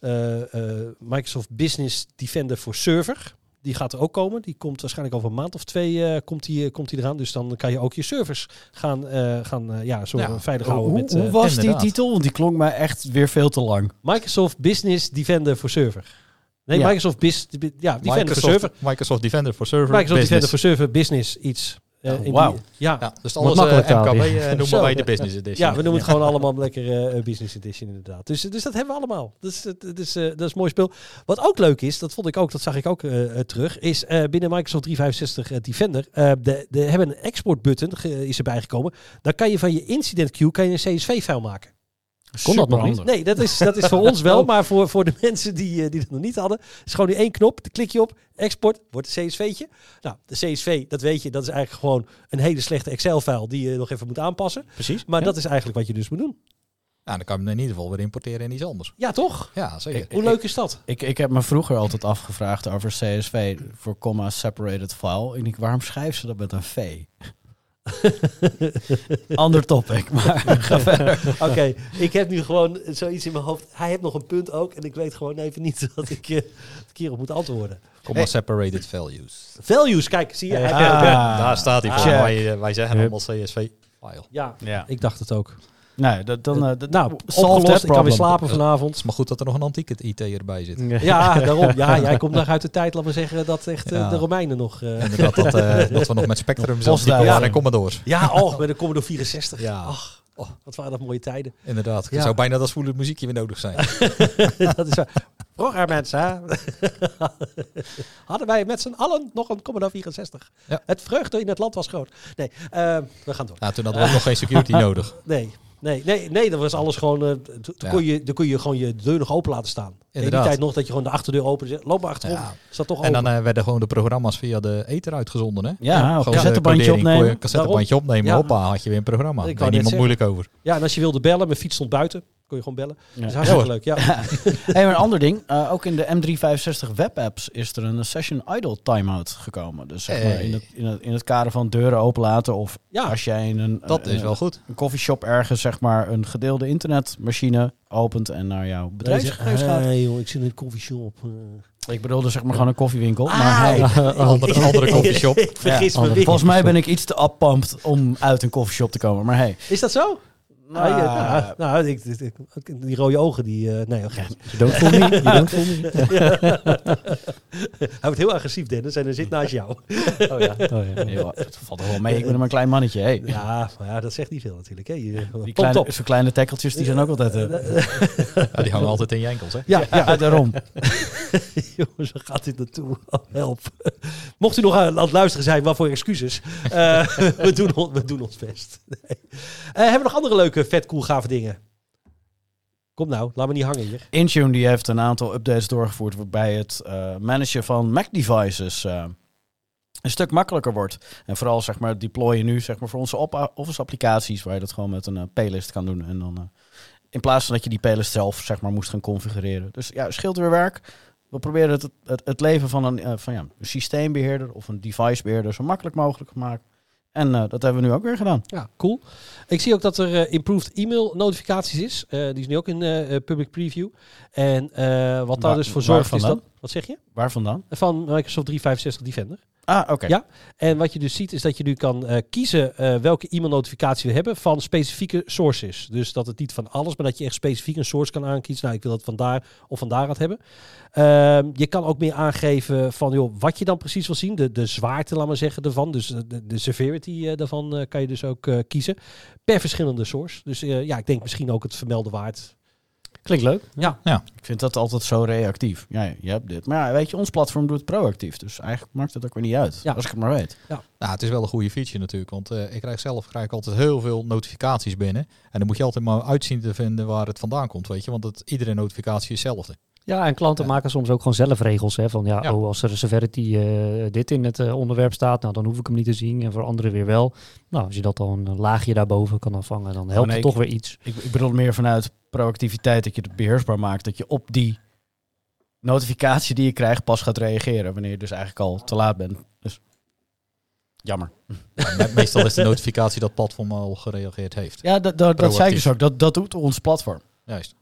[SPEAKER 1] eh, eh, Microsoft Business Defender voor server. Die gaat er ook komen. Die komt waarschijnlijk over een maand of twee eh, komt die, eh, komt die eraan. Dus dan kan je ook je servers gaan, eh, gaan eh, ja, zo
[SPEAKER 3] Ja.
[SPEAKER 1] veilig
[SPEAKER 4] Nou, Hoe,
[SPEAKER 1] houden. met, eh,
[SPEAKER 4] hoe was die
[SPEAKER 3] inderdaad.
[SPEAKER 4] titel? Want die klonk mij echt weer veel te lang.
[SPEAKER 1] Microsoft Business Defender voor server. Nee,
[SPEAKER 4] Ja.
[SPEAKER 1] Microsoft Business ja, Defender voor
[SPEAKER 3] Microsoft,
[SPEAKER 1] server.
[SPEAKER 3] Microsoft Defender for Server.
[SPEAKER 1] Microsoft
[SPEAKER 3] Business.
[SPEAKER 1] Defender voor server, business, iets. Eh,
[SPEAKER 4] Oh,
[SPEAKER 1] in die-
[SPEAKER 4] wauw.
[SPEAKER 1] ja,
[SPEAKER 3] Ja, dus alles eh,
[SPEAKER 2] makkelijk taal
[SPEAKER 3] MKB
[SPEAKER 2] weer.
[SPEAKER 3] eh, noemen
[SPEAKER 1] Zo.
[SPEAKER 3] wij de Business Edition.
[SPEAKER 1] Ja, we noemen het gewoon allemaal lekker eh, Business Edition inderdaad. Dus, dus dat hebben we allemaal. Dat is, dat is, eh, dat is een mooi speel. Wat ook leuk is, dat vond ik ook, dat zag ik ook eh, eh, terug, is eh, binnen Microsoft 365 eh, Defender, eh, de, de hebben een export button, ge- is erbij gekomen. Dan kan je van je incident queue kan je een CSV-file maken.
[SPEAKER 2] Kon dat nog niet?
[SPEAKER 4] Superhandig.
[SPEAKER 1] Nee, dat is, dat is voor ons wel, maar voor, voor de mensen die, eh, die dat nog niet hadden, is gewoon die één knop, dan klik je op, export, wordt een CSV'tje. Nou, de CSV, dat weet je, dat is eigenlijk gewoon een hele slechte Excel-file die je nog even moet aanpassen.
[SPEAKER 2] Precies.
[SPEAKER 1] Maar
[SPEAKER 2] ja.
[SPEAKER 1] dat is eigenlijk wat je dus moet doen.
[SPEAKER 3] Nou, dan kan je hem in ieder geval weer importeren in iets anders.
[SPEAKER 1] Ja, toch?
[SPEAKER 3] Ja, zeker.
[SPEAKER 1] Hoe leuk is dat?
[SPEAKER 4] Ik, ik heb me vroeger altijd afgevraagd over CSV voor comma separated file. Ik denk, waarom schrijven ze dat met een V? Ander topic, maar ga verder.
[SPEAKER 1] Oké, ik heb nu gewoon zoiets in mijn hoofd. Hij heeft nog een punt ook. En ik weet gewoon even niet dat ik eh hierop moet antwoorden.
[SPEAKER 3] Comma separated values.
[SPEAKER 1] Values, kijk, zie je? Hij-
[SPEAKER 4] Ah.
[SPEAKER 3] Daar staat hij voor.
[SPEAKER 4] Check.
[SPEAKER 3] Wij, eh, wij zeggen allemaal CSV file.
[SPEAKER 1] Ja,
[SPEAKER 4] Ja.
[SPEAKER 1] ik dacht het ook.
[SPEAKER 4] Nou, dat, dan, eh, dat-
[SPEAKER 1] Nou,
[SPEAKER 4] solved
[SPEAKER 1] opgelost.
[SPEAKER 4] that
[SPEAKER 1] Ik kan weer
[SPEAKER 4] problem.
[SPEAKER 1] slapen vanavond.
[SPEAKER 3] Maar goed dat er nog een antieke IT erbij zit.
[SPEAKER 1] Ja, daarom. Ja, jij komt nog uit de tijd, laten we zeggen, dat echt eh,
[SPEAKER 3] Ja.
[SPEAKER 1] de Romeinen nog... eh,
[SPEAKER 3] Inderdaad, dat, eh, dat we nog met Spectrum zelfs
[SPEAKER 4] Postduif.
[SPEAKER 3] dieper waren
[SPEAKER 4] Ja.
[SPEAKER 3] en Commodore's.
[SPEAKER 1] ja, oh, met de Commodore 64.
[SPEAKER 3] Ja.
[SPEAKER 1] Ach, oh, wat waren dat mooie tijden.
[SPEAKER 3] Inderdaad. Het
[SPEAKER 1] Ja.
[SPEAKER 3] zou bijna dat voelend muziekje weer nodig zijn.
[SPEAKER 1] dat is waar. Vroeger mensen, hè? hadden wij met z'n allen nog een Commodore 64.
[SPEAKER 3] Ja.
[SPEAKER 1] Het vreugde in het land was groot. Nee, eh, we gaan door.
[SPEAKER 3] Nou, toen hadden we ook nog geen security nodig.
[SPEAKER 1] Nee, nee, nee, nee, dat was alles gewoon. eh, t- toen,
[SPEAKER 3] Ja.
[SPEAKER 1] kon je, toen kon je gewoon je deur nog open laten staan. In die
[SPEAKER 3] Inderdaad.
[SPEAKER 1] tijd nog dat je gewoon de achterdeur open zet. Loop maar achterom.
[SPEAKER 3] Ja.
[SPEAKER 1] Staat toch
[SPEAKER 3] En
[SPEAKER 1] open.
[SPEAKER 3] dan eh, werden gewoon de programma's via de ether uitgezonden. Hè?
[SPEAKER 4] Ja,
[SPEAKER 3] Gewoon, eh,
[SPEAKER 4] cassettebandje
[SPEAKER 3] codering, kon je
[SPEAKER 4] opnemen.
[SPEAKER 3] Cassettebandje opnemen.
[SPEAKER 1] Ja.
[SPEAKER 3] Hoppa, had je weer een programma.
[SPEAKER 1] Ik
[SPEAKER 3] Ik
[SPEAKER 1] wou
[SPEAKER 3] Daar
[SPEAKER 1] net
[SPEAKER 3] niemand
[SPEAKER 1] zeggen.
[SPEAKER 3] moeilijk over.
[SPEAKER 1] ja, en als je wilde bellen, mijn fiets stond buiten. kon je gewoon bellen.
[SPEAKER 4] Ja.
[SPEAKER 1] Dat is hartstikke
[SPEAKER 4] Ja,
[SPEAKER 1] leuk. Ja.
[SPEAKER 4] hoor. dus- Hey, maar een ander ding. eh, ook in de M365 webapps is er een session idle timeout gekomen. Dus zeg maar
[SPEAKER 3] Hey. Ah,
[SPEAKER 4] in, het, in, het, in het kader van deuren openlaten of
[SPEAKER 1] Ja.
[SPEAKER 4] als jij in een,
[SPEAKER 3] Dat
[SPEAKER 4] een-
[SPEAKER 3] is wel goed.
[SPEAKER 4] een coffeeshop ergens zeg maar een gedeelde internetmachine opent en naar jouw bedrijfsgegevens gaat.
[SPEAKER 1] Nee, joh, ik zit in een koffieshop. eh.
[SPEAKER 4] Ik bedoelde zeg maar gewoon een koffiewinkel.
[SPEAKER 3] Ah,
[SPEAKER 4] maar hey,
[SPEAKER 3] Andere, andere koffieshop.
[SPEAKER 1] ik vergis me
[SPEAKER 2] andere
[SPEAKER 1] weer.
[SPEAKER 4] volgens mij ben ik iets te appampt om uit een koffieshop te komen. Maar hey,
[SPEAKER 1] Is dat zo?
[SPEAKER 4] Nou,
[SPEAKER 1] Ah, ja, nou, nou, ik, ik- ik- die rode ogen, die... eh, nee, oké.
[SPEAKER 4] you don't fool me, you don't fool me.
[SPEAKER 1] Hij wordt heel agressief, Dennis, en hij zit naast jou.
[SPEAKER 2] Oh ja.
[SPEAKER 4] Nee, joh, het valt er wel mee, ik ben maar een klein mannetje. Hey.
[SPEAKER 1] Ja, maar ja, dat zegt niet veel natuurlijk. Hè. Je,
[SPEAKER 4] Die
[SPEAKER 1] pompt
[SPEAKER 4] kleine,
[SPEAKER 1] op.
[SPEAKER 4] zo'n kleine tackeltjes die zijn ook altijd... eh,
[SPEAKER 3] Ja, die hangen altijd in je enkels, hè?
[SPEAKER 4] ja, ja, daarom.
[SPEAKER 1] Jongens, waar gaat dit naartoe? Oh, help. Mocht u nog aan aan het luisteren zijn, waarvoor excuses. Eh, we, doen on- we doen ons best. Nee. Eh, hebben we nog andere leuke, vet, cool, gave dingen? Kom nou, laat me niet hangen hier.
[SPEAKER 4] Intune die heeft een aantal updates doorgevoerd waarbij het eh, managen van Mac-devices eh, een stuk makkelijker wordt. En vooral zeg maar het deployen nu zeg maar, voor onze op- Office-applicaties waar je dat gewoon met een eh, playlist kan doen. En dan, eh, in plaats van dat je die playlist zelf zeg maar, moest gaan configureren. Dus ja, scheelt weer werk. We proberen het, het, het leven van, een, eh, van ja, een systeembeheerder of een devicebeheerder zo makkelijk mogelijk te maken. En eh, dat hebben we nu ook weer gedaan.
[SPEAKER 1] Ja, cool. Ik zie ook dat er eh, improved e-mail notificaties is. Eh, die is nu ook in eh, eh, public preview. En eh, wat daar
[SPEAKER 4] Waar-
[SPEAKER 1] dus voor zorgt
[SPEAKER 4] waarvan
[SPEAKER 1] is dat...
[SPEAKER 4] dan?
[SPEAKER 1] Wat zeg je?
[SPEAKER 4] Waar vandaan?
[SPEAKER 1] Van Microsoft 365 Defender.
[SPEAKER 4] Ah, oké.
[SPEAKER 1] Ja. En wat je dus ziet is dat je nu kan eh, kiezen eh, welke e-mailnotificatie we hebben van specifieke sources. Dus dat het niet van alles, maar dat je echt specifiek een source kan aankiezen. Nou, ik wil dat vandaar of van daaruit hebben. Ehm, je kan ook meer aangeven van joh, wat je dan precies wil zien. De, de zwaarte, laat maar zeggen, ervan. Dus eh, de, de severity eh, daarvan eh, kan je dus ook eh, kiezen. Per verschillende source. Dus eh, ja, ik denk misschien ook het vermelden waard.
[SPEAKER 2] Klinkt leuk.
[SPEAKER 4] Ik vind dat altijd zo reactief. Ja, je hebt dit. Maar ja, weet je, ons platform doet het proactief. Dus eigenlijk maakt het ook weer niet uit.
[SPEAKER 1] Ja.
[SPEAKER 4] Als ik het maar weet.
[SPEAKER 3] Nou, het is wel een goede feature natuurlijk, want eh, ik krijg zelf krijg ik altijd heel veel notificaties binnen. En dan moet je altijd maar uitzien te vinden waar het vandaan komt, weet je. Want het, iedere notificatie is hetzelfde.
[SPEAKER 2] Ja, en klanten maken soms ook gewoon zelf regels. Hè, van ja,
[SPEAKER 3] Ja.
[SPEAKER 2] Oh, als er een severity eh, dit in het eh, onderwerp staat, nou, dan hoef ik hem niet te zien. En voor anderen weer wel. Nou, als je dat dan een laagje daarboven kan afvangen, dan helpt
[SPEAKER 4] nee,
[SPEAKER 2] het
[SPEAKER 4] ik-
[SPEAKER 2] toch weer iets.
[SPEAKER 4] Ik, ik bedoel meer vanuit proactiviteit dat je het beheersbaar maakt. Dat je op die notificatie die je krijgt pas gaat reageren. Wanneer je dus eigenlijk al te laat bent. Dus jammer.
[SPEAKER 3] Me- Meestal is de notificatie dat platform al gereageerd heeft.
[SPEAKER 4] Ja, dat, dat, dat zei ik dus ook. Dat, dat doet ons platform.
[SPEAKER 3] Juist.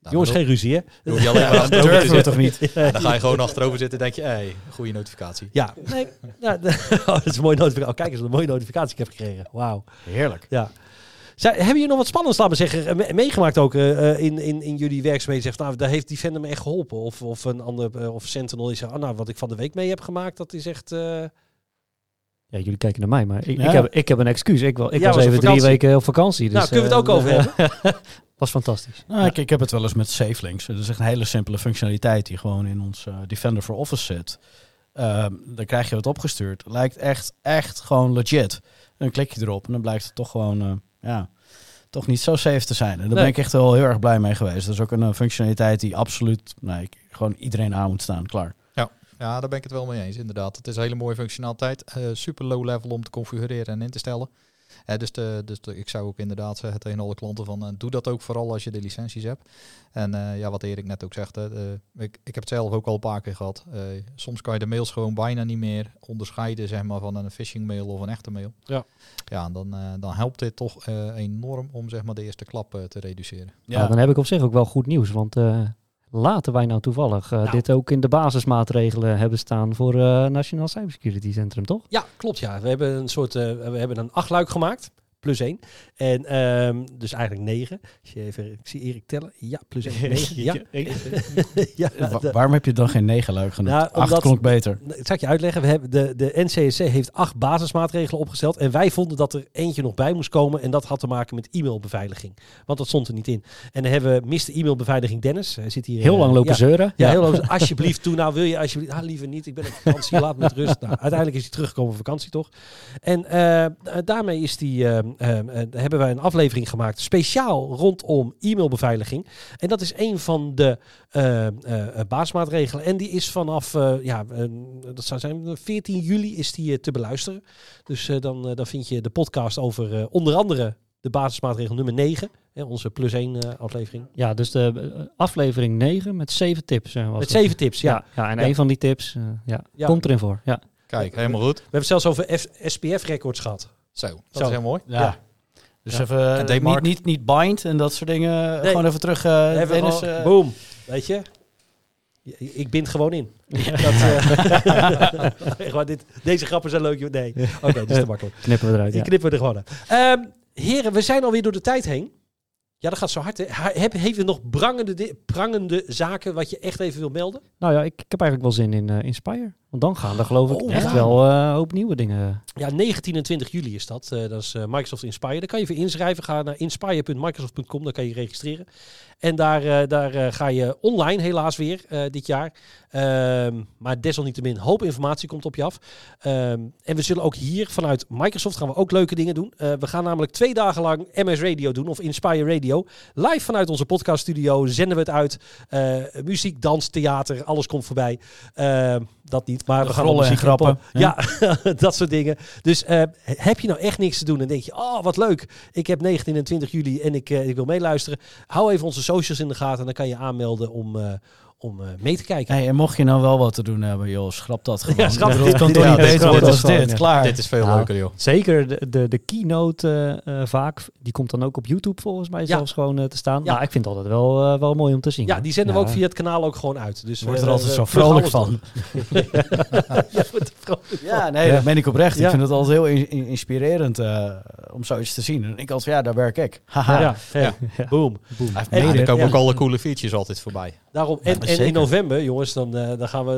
[SPEAKER 3] Nou,
[SPEAKER 1] Jongens,
[SPEAKER 3] dan
[SPEAKER 1] geen ruzie hè?
[SPEAKER 3] hoef- hoef je alleen maar
[SPEAKER 4] Dat
[SPEAKER 3] achterover te
[SPEAKER 4] durven we
[SPEAKER 3] zitten.
[SPEAKER 4] toch niet?
[SPEAKER 3] En dan ga je gewoon achterover zitten en denk je, hé, hey, goede notificatie.
[SPEAKER 1] Ja, nee. ja, oh, dat is een mooie notificatie. Oh, kijk eens, wat een mooie notificatie ik heb gekregen. Wauw.
[SPEAKER 4] Heerlijk.
[SPEAKER 1] Ja. Zij, hebben jullie nog wat spannends, laten we zeggen, eh, me- meegemaakt ook eh, eh, in, in, in jullie werkzaamheden? Zegt, nou, daar heeft Defender me echt geholpen. Of, of een ander, eh, of Sentinel is, ah, nou, wat ik van de week mee heb gemaakt, dat is echt... eh,
[SPEAKER 2] Ja, jullie kijken naar mij, maar ik,
[SPEAKER 4] Ja.
[SPEAKER 2] ik, heb, ik heb een excuus. Ik, wel, ik
[SPEAKER 1] Ja,
[SPEAKER 2] was,
[SPEAKER 1] was op
[SPEAKER 2] even drie
[SPEAKER 1] vakantie.
[SPEAKER 2] weken op vakantie. Dus,
[SPEAKER 1] nou, kunnen we het ook
[SPEAKER 2] eh,
[SPEAKER 1] over hebben?
[SPEAKER 2] was fantastisch.
[SPEAKER 4] Nou, ik, ik heb het wel eens met SafeLinks. Dat is echt een hele simpele functionaliteit die gewoon in ons eh, Defender for Office zit. Ehm, dan krijg je wat opgestuurd. Lijkt echt, echt gewoon legit. En dan klik je erop en dan blijkt het toch gewoon, eh, ja, toch niet zo safe te zijn. En daar ben
[SPEAKER 1] Nee.
[SPEAKER 4] ik echt wel heel erg blij mee geweest. Dat is ook een eh, functionaliteit die absoluut, nee, ik- gewoon iedereen aan moet staan. Klaar.
[SPEAKER 3] Ja, daar ben ik het wel mee eens, inderdaad. Het is een hele mooie functionaliteit. eh, super low level om te configureren en in te stellen. Eh, dus de, dus de- ik zou ook inderdaad zeggen tegen alle klanten van eh, doe dat ook vooral als je de licenties hebt. En eh, ja, wat Erik net ook zegt, hè, eh, ik, ik heb het zelf ook al een paar keer gehad. Eh, soms kan je de mails gewoon bijna niet meer onderscheiden zeg maar, van een phishing mail of een echte mail.
[SPEAKER 1] Ja.
[SPEAKER 3] ja en dan, eh, dan helpt dit toch eh, enorm om zeg maar, de eerste klap eh, te reduceren.
[SPEAKER 2] Ja. Nou, dan heb ik op zich ook wel goed nieuws, want eh, laten wij nou toevallig eh,
[SPEAKER 1] Nou.
[SPEAKER 2] dit ook in de basismaatregelen hebben staan voor eh, Nationaal Cybersecurity Centrum, toch?
[SPEAKER 1] Ja, klopt ja. We hebben een soort, eh, we hebben een achtluik gemaakt. Plus één. En ehm, dus eigenlijk negen. Als je even, ik zie Erik tellen. Ja, plus één. Negen. Ja, ja,
[SPEAKER 4] Wa-
[SPEAKER 1] de-
[SPEAKER 4] waarom heb je dan geen negen luik genoemd?
[SPEAKER 1] Nou,
[SPEAKER 4] Acht
[SPEAKER 1] omdat-
[SPEAKER 4] klonk beter.
[SPEAKER 1] Nou, Dat zal ik je uitleggen. We hebben de, de NCSC heeft acht basismaatregelen opgesteld. En wij vonden dat er eentje nog bij moest komen. En dat had te maken met e-mailbeveiliging. Want dat stond er niet in. En dan hebben we Mr. E-mailbeveiliging Dennis. Hij zit hier,
[SPEAKER 2] Heel
[SPEAKER 1] eh,
[SPEAKER 2] lang lopen
[SPEAKER 1] ja,
[SPEAKER 2] zeuren.
[SPEAKER 1] ja, heel lang. Alsjeblieft, toen nou wil je alsjeblieft. Ah, liever niet. Ik ben op vakantie. Laat me met rust. Nou, uiteindelijk is hij teruggekomen op vakantie, toch? En eh, daarmee is die, eh, eh, eh, hebben wij een aflevering gemaakt speciaal rondom e-mailbeveiliging. En dat is een van de eh, eh, basismaatregelen. En die is vanaf, eh, ja, eh, dat zou zijn, 14 juli is die eh, te beluisteren. Dus eh, dan, eh, dan vind je de podcast over eh, onder andere de basismaatregel nummer 9. Hè, onze plus 1 aflevering.
[SPEAKER 2] Ja, dus de eh, aflevering 9 met 7 tips. eh, was
[SPEAKER 1] Met
[SPEAKER 2] het.
[SPEAKER 1] zeven tips, ja.
[SPEAKER 2] Ja, ja en
[SPEAKER 1] Ja.
[SPEAKER 2] één van die tips eh, ja,
[SPEAKER 1] Ja.
[SPEAKER 2] komt erin voor. Ja.
[SPEAKER 3] Kijk, helemaal goed.
[SPEAKER 1] We hebben het zelfs over F- SPF-records
[SPEAKER 4] Eh,
[SPEAKER 1] gehad.
[SPEAKER 3] Zo, dat
[SPEAKER 1] Zo.
[SPEAKER 3] is heel mooi.
[SPEAKER 4] Ja.
[SPEAKER 1] Ja.
[SPEAKER 4] Dus
[SPEAKER 1] Ja.
[SPEAKER 4] even
[SPEAKER 3] En
[SPEAKER 4] eh, niet,
[SPEAKER 3] Daymark.
[SPEAKER 4] niet, niet bind en dat soort dingen.
[SPEAKER 1] Nee.
[SPEAKER 4] Gewoon even terug. eh,
[SPEAKER 1] Even
[SPEAKER 4] Dennis,
[SPEAKER 1] gewoon-
[SPEAKER 4] eh,
[SPEAKER 1] boom. Weet je? Ja, Ik bind gewoon in. Dat, eh, echt waar, dit, deze grappen zijn leuk. joh. Nee, oké, dit is te makkelijk.
[SPEAKER 2] Knippen we eruit.
[SPEAKER 1] Die
[SPEAKER 2] Ja.
[SPEAKER 1] knippen we er gewoon aan. Ehm, heren, we zijn alweer door de tijd heen. Ja, dat gaat zo hard. Hè. Ha- Heb, heeft u nog prangende, di- prangende zaken wat je echt even wil melden?
[SPEAKER 2] Nou ja, ik, ik heb eigenlijk wel zin in eh, Inspire. Want dan gaan er geloof ik
[SPEAKER 1] Oh,
[SPEAKER 2] echt
[SPEAKER 1] ja.
[SPEAKER 2] wel eh, een hoop nieuwe dingen.
[SPEAKER 1] Ja, 19 en 20 juli is dat. Eh, dat is eh, Microsoft Inspire. Daar kan je voor inschrijven. Ga naar inspire.microsoft.com. Daar kan je registreren. En daar, eh, daar eh, ga je online helaas weer eh, dit jaar. Ehm, maar desalniettemin, een hoop informatie komt op je af. Ehm, en we zullen ook hier vanuit Microsoft gaan we ook leuke dingen doen. Eh, we gaan namelijk twee dagen lang MS Radio doen of Inspire Radio. Live vanuit onze podcaststudio zenden we het uit. Eh, muziek, dans, theater, alles komt voorbij. Ehm, dat niet, maar we gaan
[SPEAKER 4] rollen
[SPEAKER 1] wel
[SPEAKER 4] en
[SPEAKER 1] muziek
[SPEAKER 4] grappen,
[SPEAKER 1] op- Ja, dat soort dingen. Dus eh, heb je nou echt niks te doen en denk je, oh wat leuk. Ik heb 19 en 20 juli en ik, eh, ik wil meeluisteren. Hou even onze socials in de gaten en dan kan je aanmelden om, eh, om eh, mee te kijken.
[SPEAKER 4] hey, en mocht je nou wel wat te doen hebben, joh, schrap dat gewoon.
[SPEAKER 1] Ja, schrap
[SPEAKER 4] Ik bedoel,
[SPEAKER 1] dit.
[SPEAKER 4] Het kan
[SPEAKER 1] Dit- ja,
[SPEAKER 4] toch niet
[SPEAKER 1] dit
[SPEAKER 4] beter
[SPEAKER 2] kan
[SPEAKER 4] worden
[SPEAKER 2] dit
[SPEAKER 4] dan
[SPEAKER 2] gewoon,
[SPEAKER 4] dit.
[SPEAKER 2] ja.
[SPEAKER 4] Klaar.
[SPEAKER 3] Dit is veel
[SPEAKER 2] Nou,
[SPEAKER 3] leuker, joh.
[SPEAKER 2] Zeker de, de, de keynote eh, eh, vaak. Die komt dan ook op YouTube volgens mij
[SPEAKER 1] Ja.
[SPEAKER 2] zelfs gewoon eh, te staan.
[SPEAKER 1] Ja.
[SPEAKER 2] Ja. ik vind het altijd wel, eh, wel mooi om te zien.
[SPEAKER 1] Ja,
[SPEAKER 2] hoor.
[SPEAKER 1] die zenden we ook
[SPEAKER 2] Ja.
[SPEAKER 1] via het kanaal ook gewoon uit. Dus
[SPEAKER 4] Wordt
[SPEAKER 1] we-
[SPEAKER 4] er
[SPEAKER 1] we-
[SPEAKER 4] altijd
[SPEAKER 1] we-
[SPEAKER 4] zo
[SPEAKER 1] we gaan
[SPEAKER 4] vrolijk
[SPEAKER 1] alles
[SPEAKER 4] van.
[SPEAKER 1] doen. ja, wordt er vrolijk van.
[SPEAKER 4] Ja, nee, dat ben ik oprecht.
[SPEAKER 1] Ja.
[SPEAKER 4] Ik vind het altijd heel in- in- inspirerend eh, om zoiets te zien. En ik altijd, ja, daar werk ik. Haha.
[SPEAKER 1] Ja, ja. Boom.
[SPEAKER 4] Hij heeft
[SPEAKER 1] En-
[SPEAKER 3] Ja,
[SPEAKER 4] mede-
[SPEAKER 3] er komen
[SPEAKER 1] Ja.
[SPEAKER 3] ook alle coole features altijd voorbij.
[SPEAKER 1] Daarom. En,
[SPEAKER 4] maar
[SPEAKER 1] en in
[SPEAKER 4] zeker.
[SPEAKER 1] november, jongens, dan, eh, dan gaan we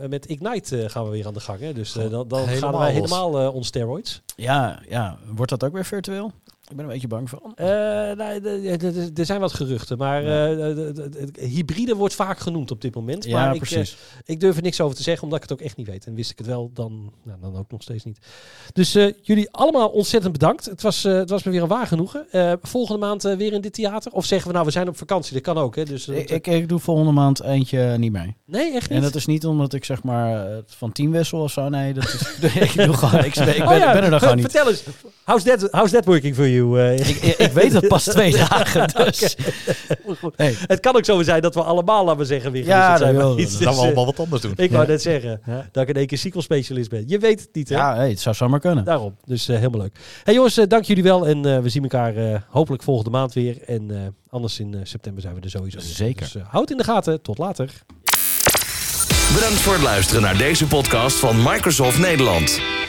[SPEAKER 1] eh, met Ignite eh, gaan we weer aan de gang. Hè? Dus eh, dan, dan gaan
[SPEAKER 3] Helemaal
[SPEAKER 1] wij
[SPEAKER 3] los.
[SPEAKER 1] helemaal eh, on steroids.
[SPEAKER 4] ja, ja, wordt dat ook weer virtueel? Ik ben er een beetje bang van.
[SPEAKER 1] Eh, nou, d- d- d- d- er zijn wat geruchten, maar eh, d- d- d- hybride wordt vaak genoemd op dit moment.
[SPEAKER 4] Ja,
[SPEAKER 1] maar Ik, eh,
[SPEAKER 4] precies.
[SPEAKER 1] Ik durf er niks over te zeggen, omdat ik het ook echt niet weet. En wist ik het wel, dan, nou, dan ook nog steeds niet. Dus eh, jullie allemaal ontzettend bedankt. Het was, eh, het was me weer een waar genoegen. Eh, volgende maand eh, weer in dit theater? Of zeggen we nou, we zijn op vakantie. Dat kan ook, hè? Dus, eh,
[SPEAKER 4] ik, ik, ik doe volgende maand eentje niet mee.
[SPEAKER 1] nee, echt niet?
[SPEAKER 4] En dat is niet omdat ik zeg maar eh, van team wissel of zo. Nee, dat is, ik, doe gewoon, ik, ben, ik ben,
[SPEAKER 1] Oh ja,
[SPEAKER 4] ik ben er dan gewoon niet.
[SPEAKER 1] Vertel eens, how's that, how's that working for you? eh?
[SPEAKER 4] Ik, ik, ik weet het pas twee dagen. Dus. Nee.
[SPEAKER 1] het kan ook zo zijn dat we allemaal, laten we zeggen, weer
[SPEAKER 4] Ja,
[SPEAKER 1] gewisseld
[SPEAKER 4] dat
[SPEAKER 1] maar
[SPEAKER 4] wel.
[SPEAKER 1] iets
[SPEAKER 3] Dan gaan we
[SPEAKER 1] is, eh,
[SPEAKER 3] allemaal wat anders doen.
[SPEAKER 1] Ik wou
[SPEAKER 4] Ja.
[SPEAKER 1] net zeggen
[SPEAKER 2] Ja.
[SPEAKER 1] dat ik in één keer sequel-specialist ben. Je weet het niet, hè?
[SPEAKER 4] Ja, hey, het zou zomaar kunnen.
[SPEAKER 1] Daarom. Dus eh, helemaal leuk. Hey jongens, eh, dank jullie wel. En eh, we zien elkaar eh, hopelijk volgende maand weer. En eh, anders in eh, september zijn we er sowieso. weer.
[SPEAKER 4] Zeker.
[SPEAKER 1] Dus eh, houd in de gaten. Tot later.
[SPEAKER 5] Bedankt voor het luisteren naar deze podcast van Microsoft Nederland.